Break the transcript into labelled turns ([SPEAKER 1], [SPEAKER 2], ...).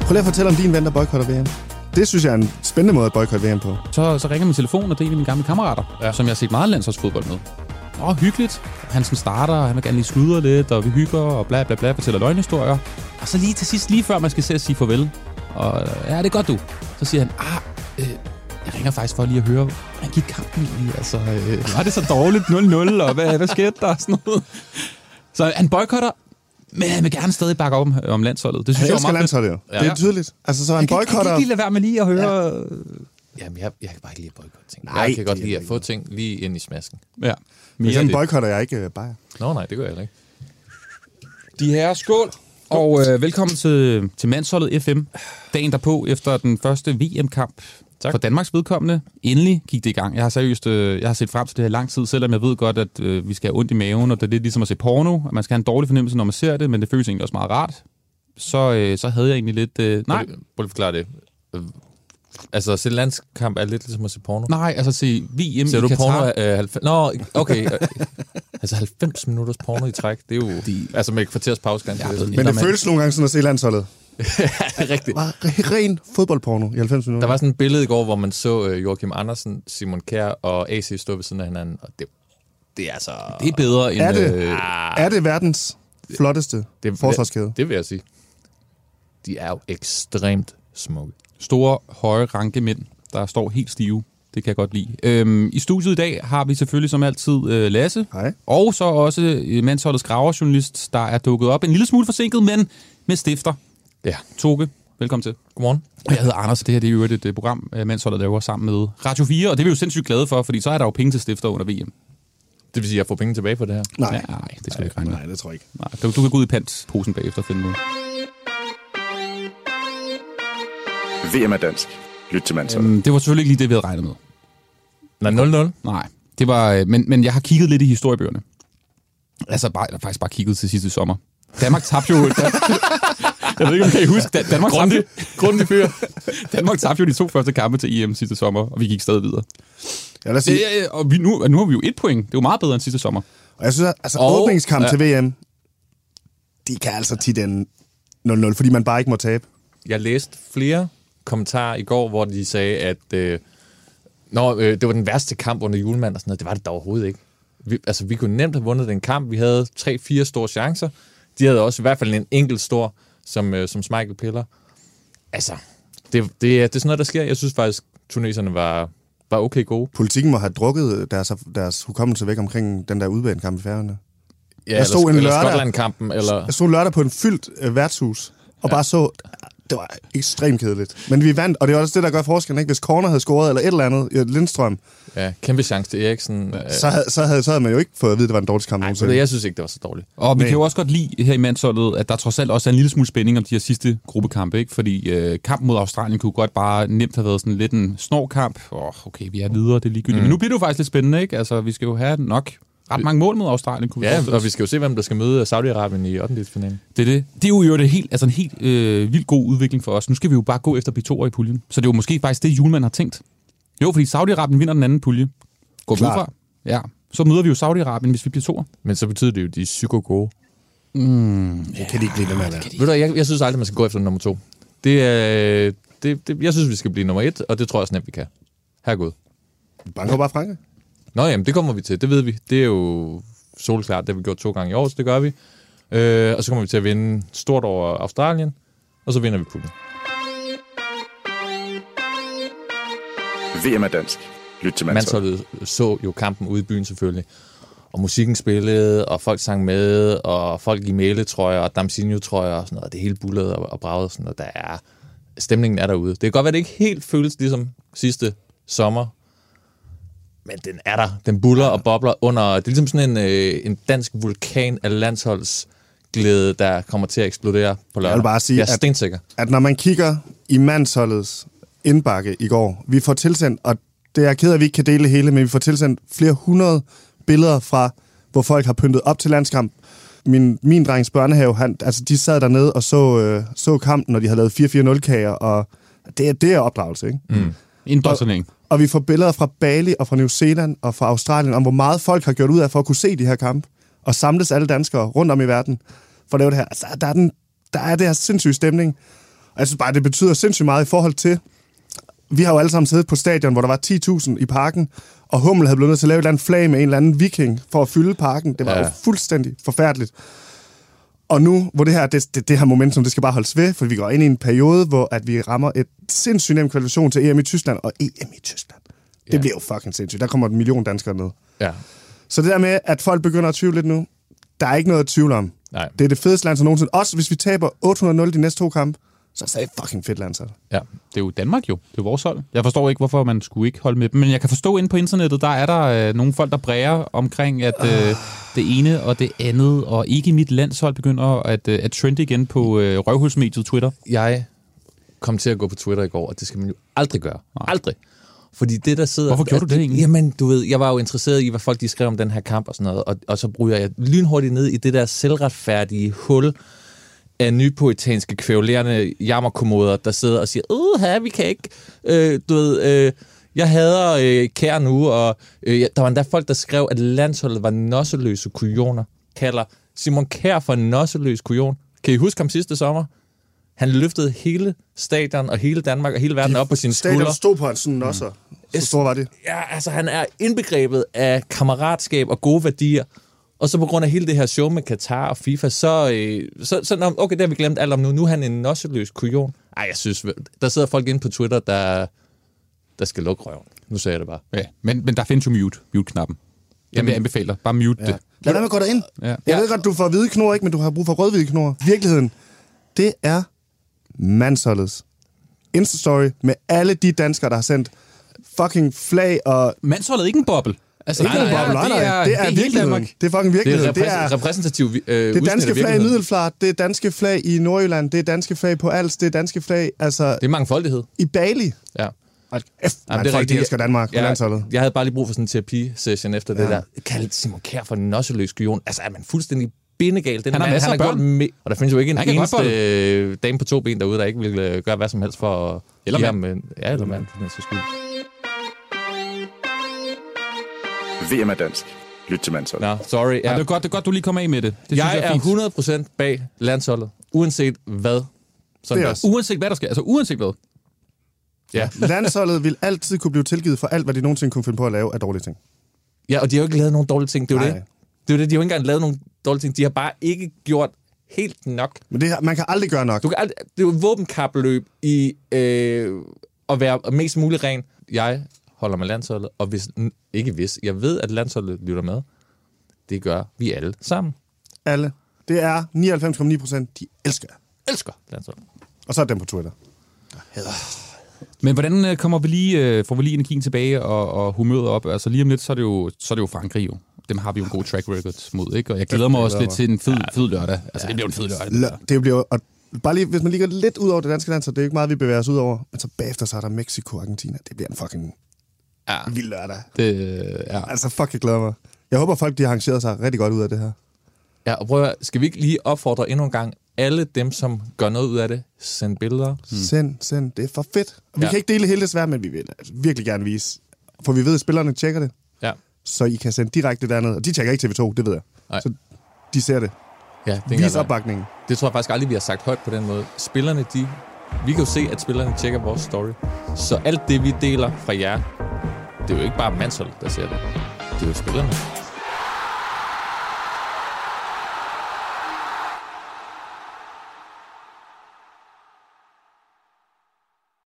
[SPEAKER 1] Prøv lige at fortælle om din ven, der boykotter VM. Det synes jeg er en spændende måde at boykotte VM på.
[SPEAKER 2] Så, så ringer min telefon, og det er en af mine gamle kammerater,
[SPEAKER 3] Ja.
[SPEAKER 2] ja. som jeg har set meget landsholdsfodbold med. Åh, hyggeligt. Han sådan starter, og han vil gerne lige sludre lidt, og vi hygger, og bla bla bla, fortæller løgnhistorier. Og så lige til sidst, lige før man skal se at sige farvel, og øh, ja, det er godt du. Så siger han, ah, øh, jeg ringer faktisk for lige at høre, hvordan gik kampen egentlig? Altså, øh, var det så dårligt 0-0, og hvad, hvad skete der? og Sådan noget. Så han boykotter, men han vil gerne stadig bakke op om, om landsholdet. Det synes
[SPEAKER 1] Han
[SPEAKER 2] jeg
[SPEAKER 1] elsker
[SPEAKER 2] er meget fedt.
[SPEAKER 1] landsholdet jo.
[SPEAKER 3] Ja.
[SPEAKER 1] Ja. Det er tydeligt. Altså, så han
[SPEAKER 2] Kan- Kan, kan
[SPEAKER 1] boykotter...
[SPEAKER 2] ikke lige lade være med lige at høre... øh,
[SPEAKER 3] Jamen, jeg, jeg kan bare ikke lide at boykotte ting.
[SPEAKER 1] Nej,
[SPEAKER 3] jeg kan godt
[SPEAKER 1] det er
[SPEAKER 3] lide at
[SPEAKER 1] jeg
[SPEAKER 3] få ting lige ind i smasken.
[SPEAKER 2] Ja. ja.
[SPEAKER 1] Men
[SPEAKER 2] Mere
[SPEAKER 1] sådan
[SPEAKER 2] det.
[SPEAKER 1] boykotter jeg ikke øh, Bayer.
[SPEAKER 3] Nå nej, det gør jeg heller ikke.
[SPEAKER 2] De herrer, skål! Og øh, velkommen til, til Mandsholdet FM. Dagen derpå, efter den første VM-kamp
[SPEAKER 3] Tak.
[SPEAKER 2] for Danmarks vedkommende. Endelig gik det i gang. Jeg har seriøst øh, jeg har set frem til det her i lang tid, selvom jeg ved godt, at øh, vi skal have ondt i maven, og det er lidt ligesom at se porno. Og man skal have en dårlig fornemmelse, når man ser det, men det føles egentlig også meget rart. Så, øh, så havde jeg egentlig lidt... Øh, nej,
[SPEAKER 3] Prøv lige- Prøv lige at forklare det. Øh, Altså, at se landskamp er lidt ligesom at se porno.
[SPEAKER 2] nej, altså se VM
[SPEAKER 3] Ser
[SPEAKER 2] i
[SPEAKER 3] du
[SPEAKER 2] Katar.
[SPEAKER 3] porno? Øh, 90 Nå, okay. øh, altså 90 minutters porno i træk, det er jo... Altså med et kvarters pause, ganske.
[SPEAKER 2] Jeg
[SPEAKER 3] Det er
[SPEAKER 2] ved
[SPEAKER 3] sådan-
[SPEAKER 1] Men det
[SPEAKER 2] Eldermand.
[SPEAKER 1] føles nogle gange sådan at se landsholdet.
[SPEAKER 3] Det er rigtigt.
[SPEAKER 1] Bare re- ren fodboldporno i 90 minutter.
[SPEAKER 3] Der var sådan et billede i går, hvor man så øh, Joachim Andersen, Simon Kjær og AC stå ved siden af hinanden, og det, det er altså...
[SPEAKER 2] Det er bedre end...
[SPEAKER 1] Er det?
[SPEAKER 2] Øh,
[SPEAKER 1] Er det verdens flotteste det, forsvarskæde?
[SPEAKER 3] Det, det vil jeg sige. De er jo ekstremt smukke.
[SPEAKER 2] store, høje, ranke mænd, der står helt stive. Det kan jeg godt lide. Øhm, I studiet i dag har vi selvfølgelig som altid øh, Lasse.
[SPEAKER 1] Hej.
[SPEAKER 2] Og så også øh, mandsholdets graverjournalist, der er dukket op en lille smule forsinket, men med stifter.
[SPEAKER 3] Ja.
[SPEAKER 2] Toge, velkommen til.
[SPEAKER 3] Godmorgen.
[SPEAKER 2] Og jeg hedder Anders, og det her det er jo et, et øh, program, øh, mandsholdet laver sammen med Radio 4, og det er vi jo sindssygt glade for, fordi så er der jo penge til stifter under VM.
[SPEAKER 3] Det vil sige, at jeg får penge tilbage på det her.
[SPEAKER 1] Nej.
[SPEAKER 2] Ja, nej, det skal du ikke regne med.
[SPEAKER 1] Nej, det tror jeg ikke.
[SPEAKER 2] Nej, du, du kan gå ud i pantposen bagefter og finde noget.
[SPEAKER 4] VM er dansk. Lyt til mandsholdet.
[SPEAKER 2] Øhm, det var selvfølgelig ikke lige det, vi havde regnet med.
[SPEAKER 3] Nej, 0-0.
[SPEAKER 2] Nej, det var, øh, men, men jeg har kigget lidt i historiebøgerne. Altså, bare, jeg har faktisk bare kigget til sidste sommer. Danmark tabte jo... Dan- jeg ved ikke, om I kan huske. Dan- Danmark tabte, jo-
[SPEAKER 3] Grundig fyr.
[SPEAKER 2] Danmark tabte jo de to første kampe til EM sidste sommer, og vi gik stadig videre.
[SPEAKER 1] Ja, lad os
[SPEAKER 2] Det,
[SPEAKER 1] sige.
[SPEAKER 2] øh, og vi, nu, nu har vi jo et point. Det er jo meget bedre end sidste sommer.
[SPEAKER 1] Og jeg synes, at, altså
[SPEAKER 2] Og-
[SPEAKER 1] åbningskamp
[SPEAKER 2] Ja.
[SPEAKER 1] til VM, de kan altså tit ende 0-0, fordi man bare ikke må tabe.
[SPEAKER 3] Jeg læste flere kommentarer i går, hvor de sagde, at øh, Nå, øh, det var den værste kamp under julemanden og sådan noget. Det var det da overhovedet ikke. Vi, altså, vi kunne nemt have vundet den kamp. Vi havde tre-fire store chancer. De havde også i hvert fald en enkelt stor, som, øh, som Michael piller. Altså, det, det, det er sådan noget, der sker. Jeg synes faktisk, tuneserne var, var okay gode.
[SPEAKER 1] Politikken må have drukket deres, deres hukommelse væk omkring den der udbanekamp i færgerne.
[SPEAKER 3] Ja,
[SPEAKER 1] Jeg stod en
[SPEAKER 3] eller
[SPEAKER 1] lørdag-
[SPEAKER 3] Skotland-kampen, eller...
[SPEAKER 1] Jeg stod lørdag på en fyldt øh, værtshus, og ja. bare så, det var ekstremt kedeligt. Men vi vandt, og det er også det, der gør forskellen, ikke? Hvis Corner havde scoret, eller et eller andet, ja, Lindstrøm,
[SPEAKER 3] Ja, kæmpe chance til Eriksen. Øh,
[SPEAKER 1] så havde, så, havde, så havde man jo ikke fået at vide, at det var en dårlig kamp
[SPEAKER 3] Ej,
[SPEAKER 1] nogensinde.
[SPEAKER 3] ved du, jeg synes ikke, det var så dårligt.
[SPEAKER 2] Og vi kan jo også godt lide her i mandsholdet, at der trods alt også er en lille smule spænding om de her sidste gruppekampe, ikke? Fordi øh, kampen mod Australien kunne godt bare nemt have været sådan lidt en snorkamp. Åh, oh, okay, vi er videre, det er ligegyldigt. Mm. Men nu bliver det jo faktisk lidt spændende, ikke? Altså, vi skal jo have nok ret mange mål mod Australien, kunne vi
[SPEAKER 3] Ja,
[SPEAKER 2] forestille
[SPEAKER 3] og
[SPEAKER 2] os.
[SPEAKER 3] vi skal jo se, hvem der skal møde Saudi-Arabien i 8. finalen.
[SPEAKER 2] Det er det. Det er jo jo det helt, altså en helt øh, vildt god udvikling for os. Nu skal vi jo bare gå efter B2 i puljen. Så det er jo måske faktisk det, Julemand har tænkt. Jo, fordi Saudi-Arabien vinder den anden pulje. Går vi ud
[SPEAKER 1] Klart.
[SPEAKER 2] fra? Ja. Så møder vi jo Saudi-Arabien, hvis vi bliver toer.
[SPEAKER 3] Men så betyder det jo, at de er psyko gode.
[SPEAKER 1] Det Mm, kan de ikke blive ved med at være.
[SPEAKER 3] Ved du, hvad, jeg, jeg synes aldrig, man skal gå efter nummer to. Det, er- det, det, jeg synes, vi skal blive nummer et, og det tror jeg også nemt, vi kan. Herregud.
[SPEAKER 1] Vi banker jo bare Frankrig.
[SPEAKER 3] Nå jamen, det kommer vi til. Det ved vi. Det er jo solklart. Det har vi gjort to gange i år, så det gør vi. Øh, og så kommer vi til at vinde stort over Australien, og så vinder vi puljen.
[SPEAKER 4] VM er dansk. Lyt til mandsholdet.
[SPEAKER 3] Mandsholdet så jo kampen ude i byen selvfølgelig. Og musikken spillede, og folk sang med, og folk i mæletrøjer og damsinjo-trøjer og sådan noget. Det hele bullede og, og bragede sådan noget. Der er, stemningen er derude. Det kan godt være, det ikke helt føles ligesom sidste sommer, men den er der. Den buller og bobler under. Det er ligesom sådan en, øh, en dansk vulkan af landsholdsglæde, der kommer til at eksplodere på lørdag.
[SPEAKER 1] bare sige,
[SPEAKER 3] jeg er
[SPEAKER 1] at-
[SPEAKER 3] stensikker.
[SPEAKER 1] At når man kigger i mandsholdets indbakke i går, vi får tilsendt, og det er jeg ked af, at vi ikke kan dele det hele, men vi får tilsendt flere hundrede billeder fra, hvor folk har pyntet op til landskamp. Min, min drengs børnehave, han, altså de sad dernede og så, øh, så kampen, når de havde lavet 4-4-0-kager, og det er, det er opdragelse, ikke? Mm.
[SPEAKER 2] Indoktrinering.
[SPEAKER 1] Og vi får billeder fra Bali og fra New Zealand og fra Australien om, hvor meget folk har gjort ud af for at kunne se de her kampe. Og samles alle danskere rundt om i verden for at lave det her. Altså, der, er den, der er det her sindssyge stemning. Og jeg synes bare, det betyder sindssygt meget i forhold til... Vi har jo alle sammen siddet på stadion, hvor der var 10.000 i parken, og Hummel havde blevet nødt til at lave et eller andet flag med en eller anden viking for at fylde parken. Det var ja.
[SPEAKER 3] Ja.
[SPEAKER 1] jo fuldstændig forfærdeligt. Og nu, hvor det her, det, det, det her momentum, det skal bare holdes ved, for vi går ind i en periode, hvor at vi rammer et sindssygt nem kvalifikation til EM i Tyskland, og EM i Tyskland. Det
[SPEAKER 3] Ja.
[SPEAKER 1] bliver jo fucking sindssygt. Der kommer en million danskere ned.
[SPEAKER 3] Ja.
[SPEAKER 1] Så det der med, at folk begynder at tvivle lidt nu, der er ikke noget at tvivle om.
[SPEAKER 3] Nej.
[SPEAKER 1] Det er det fedeste landshold nogensinde. Også hvis vi taber 800-0 de næste to kampe, så er det stadig fucking fedt landshold.
[SPEAKER 3] ja.
[SPEAKER 2] Det er jo Danmark jo. Det er vores hold. Jeg forstår ikke, hvorfor man skulle ikke holde med dem. Men jeg kan forstå, inde på internettet, der er der øh, nogle folk, der bræger omkring, at øh, det ene og det andet, og ikke mit landshold begynder at, øh, at trende igen på øh, røvhulsmediet Twitter.
[SPEAKER 3] Jeg kom til at gå på Twitter i går, og det skal man jo aldrig gøre. Nej. Aldrig. Fordi det, der sidder...
[SPEAKER 2] Hvorfor gjorde du det egentlig?
[SPEAKER 3] Jamen, du ved, jeg var jo interesseret i, hvad folk de skrev om den her kamp og sådan noget, og, og så bruger jeg lynhurtigt ned i det der selvretfærdige hul af nypoetanske, kvævlerende jammerkommoder, der sidder og siger, øh, her, vi kan ikke, øh, du ved, øh, jeg hader øh, kær nu, og øh, ja, der var endda folk, der skrev, at landsholdet var nosseløse kujoner, kalder Simon Kær for en nosseløs kujon. Kan I huske ham sidste sommer? Han løftede hele stadion og hele Danmark og hele verden op på sine skuldre.
[SPEAKER 1] Stadion stod på hans sådan
[SPEAKER 3] Mm.
[SPEAKER 1] nosser. Så stor var det.
[SPEAKER 3] Ja, altså han er indbegrebet af kammeratskab og gode værdier. Og så på grund af hele det her show med Katar og FIFA, så, øh, så, så nå, okay, det har vi glemt alt om nu. Nu er han en nosseløs kujon. Ej, jeg synes, vel- der sidder folk inde på Twitter, der, der skal lukke røven. Nu sagde jeg det bare.
[SPEAKER 2] Ja, men, men der findes jo mute, mute-knappen. Den vil jeg anbefale dig. Bare mute ja. det.
[SPEAKER 1] Lad være med at gå derind.
[SPEAKER 2] Ja.
[SPEAKER 1] Jeg ved godt, du får hvide knor, ikke, men du har brug for rødhvide knor. Virkeligheden, det er mandsholdets Insta-story med alle de danskere, der har sendt fucking flag og...
[SPEAKER 2] Mandsholdet er ikke en boble. Altså,
[SPEAKER 1] Ikke nogen boble, nej, nej. Det er
[SPEAKER 2] hele
[SPEAKER 1] virkeligheden. Det er fucking
[SPEAKER 3] Det er,
[SPEAKER 1] virkeligheden.
[SPEAKER 3] repræs- repræsentativ øh,
[SPEAKER 1] Det er danske flag i
[SPEAKER 3] det
[SPEAKER 1] Middelfart, det er danske flag i Nordjylland, det er danske flag på Als, det er danske flag altså
[SPEAKER 3] er mangfoldighed.
[SPEAKER 1] i Bali.
[SPEAKER 3] Ja.
[SPEAKER 1] Hold kæft, man, folk de elsker Danmark på
[SPEAKER 3] jeg,
[SPEAKER 1] landsholdet.
[SPEAKER 3] Jeg havde bare lige brug for sådan en terapi-session efter ja. det der. Kald Simon Kjær for en nosseløs kujon. Altså, er man fuldstændig bindegal? Den
[SPEAKER 2] Han har
[SPEAKER 3] mand,
[SPEAKER 2] masser af børn.
[SPEAKER 3] gået Me- og der findes jo ikke en
[SPEAKER 2] Han kan godt
[SPEAKER 3] eneste øh, dame på to ben derude, der ikke vil øh, gøre hvad som helst for at...
[SPEAKER 2] Eller
[SPEAKER 3] give
[SPEAKER 2] mand.
[SPEAKER 3] ham en- Ja, eller mand, for den sags skyld.
[SPEAKER 4] VM er dansk. Lyt til mandsholdet.
[SPEAKER 3] Nå, sorry.
[SPEAKER 2] Ja,
[SPEAKER 3] Ja.
[SPEAKER 2] det, er godt, det er godt, du lige kom af med det. det
[SPEAKER 3] Jeg
[SPEAKER 2] synes jeg fint.
[SPEAKER 3] er 100% bag landsholdet, uanset hvad. Sådan
[SPEAKER 1] Det er
[SPEAKER 3] der.
[SPEAKER 1] også-
[SPEAKER 2] Uanset hvad der sker. Altså, uanset hvad.
[SPEAKER 3] Ja.
[SPEAKER 1] Landsholdet vil altid kunne blive tilgivet for alt, hvad de nogensinde kunne finde på at lave af dårlige ting.
[SPEAKER 3] ja, og de har jo ikke lavet nogen dårlige ting. Det er jo
[SPEAKER 1] Nej.
[SPEAKER 3] det. Det er jo det, de har jo ikke engang lavet nogen dårlige ting. De har bare ikke gjort helt nok
[SPEAKER 1] Men det, her- man kan aldrig gøre nok.
[SPEAKER 3] Du kan aldrig, det er jo et våbenkapløb i øh, at være mest muligt ren. Jeg holder med landsholdet, og hvis, n- ikke hvis, jeg ved, at landsholdet lytter med. Det gør vi alle sammen.
[SPEAKER 1] Alle. Det er 99,9 procent, de elsker jer.
[SPEAKER 3] Elsker landsholdet.
[SPEAKER 1] Og så er dem på Twitter.
[SPEAKER 2] Men hvordan øh, kommer vi lige, øh, får vi lige energien tilbage og, og humøret op? Altså lige om lidt, så er det jo, så er det jo Frankrig jo. Dem har vi jo en god track record mod, ikke? Og jeg glæder mig også lidt til en fed, fed lørdag. Altså, det bliver en fed lørdag.
[SPEAKER 1] L- Det bliver, og bare lige, hvis man lige går lidt ud over det danske land, så det er jo ikke meget, vi bevæger os ud over. Men så bagefter, så er der Mexico og Argentina. Det bliver en fucking
[SPEAKER 2] Ja.
[SPEAKER 1] vild lørdag.
[SPEAKER 2] Det, øh, ja.
[SPEAKER 1] Altså, fuck, jeg glæder mig. Jeg håber, folk de har arrangeret sig rigtig godt ud af det her.
[SPEAKER 3] Ja, og prøv at, høre, skal vi ikke lige opfordre endnu en gang alle dem, som gør noget ud af det, send billeder.
[SPEAKER 1] Mm. Send, send. Det er for fedt. Og vi
[SPEAKER 3] Hmm. Ja.
[SPEAKER 1] kan ikke dele hele desværre, men vi vil altså virkelig gerne vise. For vi ved, at spillerne tjekker det,
[SPEAKER 3] Ja,
[SPEAKER 1] så I kan sende direkte derned. Og de tjekker ikke TV2, det ved jeg.
[SPEAKER 3] Nej.
[SPEAKER 1] Så de ser det.
[SPEAKER 3] ja det,
[SPEAKER 1] Vis
[SPEAKER 3] er
[SPEAKER 1] opbakningen.
[SPEAKER 3] det tror jeg faktisk aldrig, vi har sagt højt på den måde. Spillerne, de... Vi kan jo se, at spillerne tjekker vores story. Så alt det, vi deler fra jer, det er jo ikke bare mandsholdet, der ser det. Det er jo spillerne.